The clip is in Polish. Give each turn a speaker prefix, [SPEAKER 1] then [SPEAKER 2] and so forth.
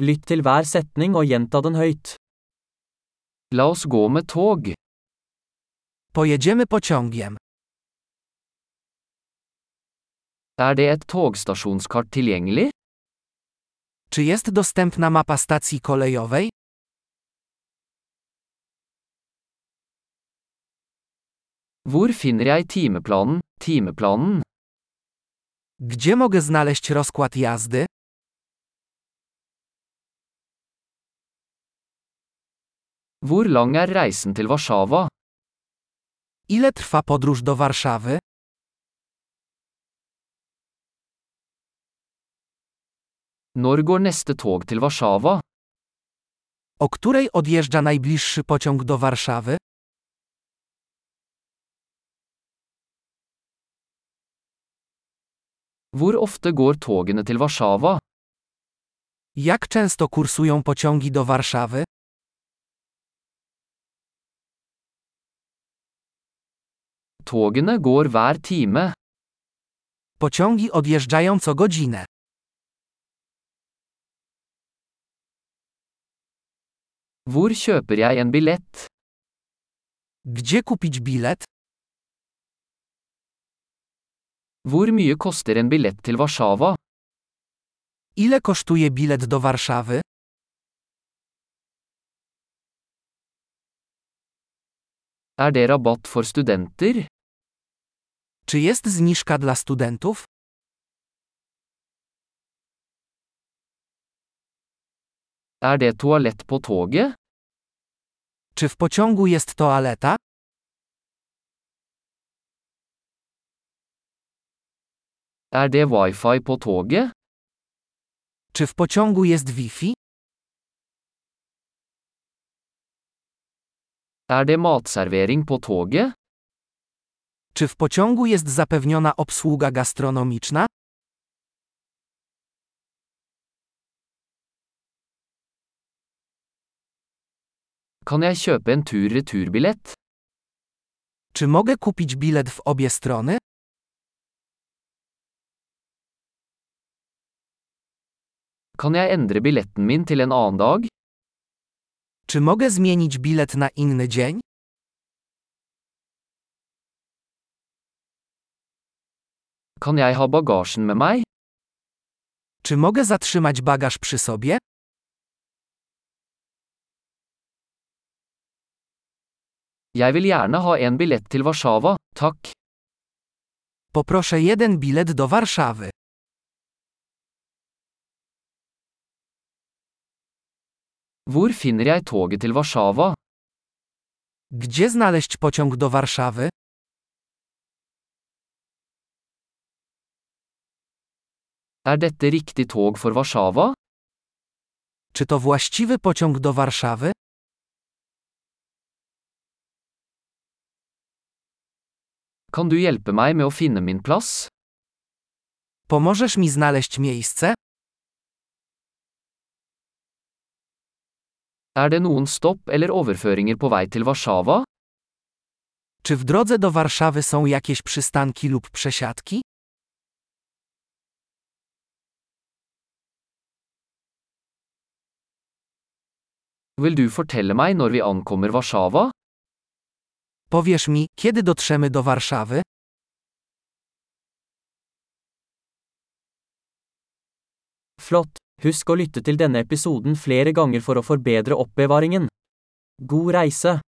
[SPEAKER 1] Lytt til hver setning og gjenta den høyt.
[SPEAKER 2] La oss gå med tog.
[SPEAKER 3] Pojedziemy pociągiem.
[SPEAKER 2] Er det et togstasjonskart tilgjengelig?
[SPEAKER 3] Czy jest dostępna mapa stacji kolejowej?
[SPEAKER 2] Hvor finner jeg timeplanen, timeplanen?
[SPEAKER 3] Gdzie mogę znaleźć rozkład jazdy?
[SPEAKER 2] Hvor lang er reisen til Warszawa?
[SPEAKER 3] Ile trwa podróż do Warszawy?
[SPEAKER 2] Når går neste tog til Warszawa?
[SPEAKER 3] O której odjeżdża najbliższy pociąg do Warszawy?
[SPEAKER 2] Hvor ofte går togene til Warszawa?
[SPEAKER 3] Jak często kursują pociągi do Warszawy?
[SPEAKER 2] Togene går hver time.
[SPEAKER 3] Pociągi odjeżdżają co godzinę.
[SPEAKER 2] Hvor kjøper jeg en billett?
[SPEAKER 3] Gdzie kupić bilet?
[SPEAKER 2] Hvor mye koster en billett til Warszawa?
[SPEAKER 3] Ile kosztuje bilet do Warszawy?
[SPEAKER 2] Er det rabatt for studenter?
[SPEAKER 3] Czy jest zniżka dla studentów?
[SPEAKER 2] Er det toalett på toget?
[SPEAKER 3] Czy w pociągu jest toaleta?
[SPEAKER 2] Er det wifi på toget?
[SPEAKER 3] Czy w pociągu jest Wi-Fi?
[SPEAKER 2] Er det matservering på toget?
[SPEAKER 3] Czy w pociągu jest zapewniona obsługa gastronomiczna?
[SPEAKER 2] Kan jeg kjøpe en tur-returbillett?
[SPEAKER 3] Czy mogę kupić bilet w obie strony?
[SPEAKER 2] Kan jeg endre billetten min til en annen dag?
[SPEAKER 3] Czy mogę zmienić bilet na inny dzień?
[SPEAKER 2] Kan jeg ha bagasjen med meg?
[SPEAKER 3] Czy mogę zatrzymać bagaż przy sobie?
[SPEAKER 2] Jeg vil gjerne ha en billett til Warszawa, takk.
[SPEAKER 3] Poproszę jeden bilet do Warszawy.
[SPEAKER 2] Hvor finner jeg toget til Warszawa?
[SPEAKER 3] Gdzie znaleźć pociąg do Warszawy?
[SPEAKER 2] Er dette riktig tog for Warszawa?
[SPEAKER 3] Czy to właściwy pociąg do Warszawy?
[SPEAKER 2] Kan du hjelpe meg med å finne min plass?
[SPEAKER 3] Pomożesz mi znaleźć miejsce?
[SPEAKER 2] Er det noen stopp eller overføringer på vei til Warszawa?
[SPEAKER 3] Czy w drodze do Warszawy są jakieś przystanki lub przesiadki?
[SPEAKER 2] Vil du fortelle meg når vi ankommer Warszawa?
[SPEAKER 3] Powiesz mi, kiedy dotrzemy do Warszawy?
[SPEAKER 1] Flott! Husk å lytte til denne episoden flere ganger for å forbedre oppbevaringen. God reise!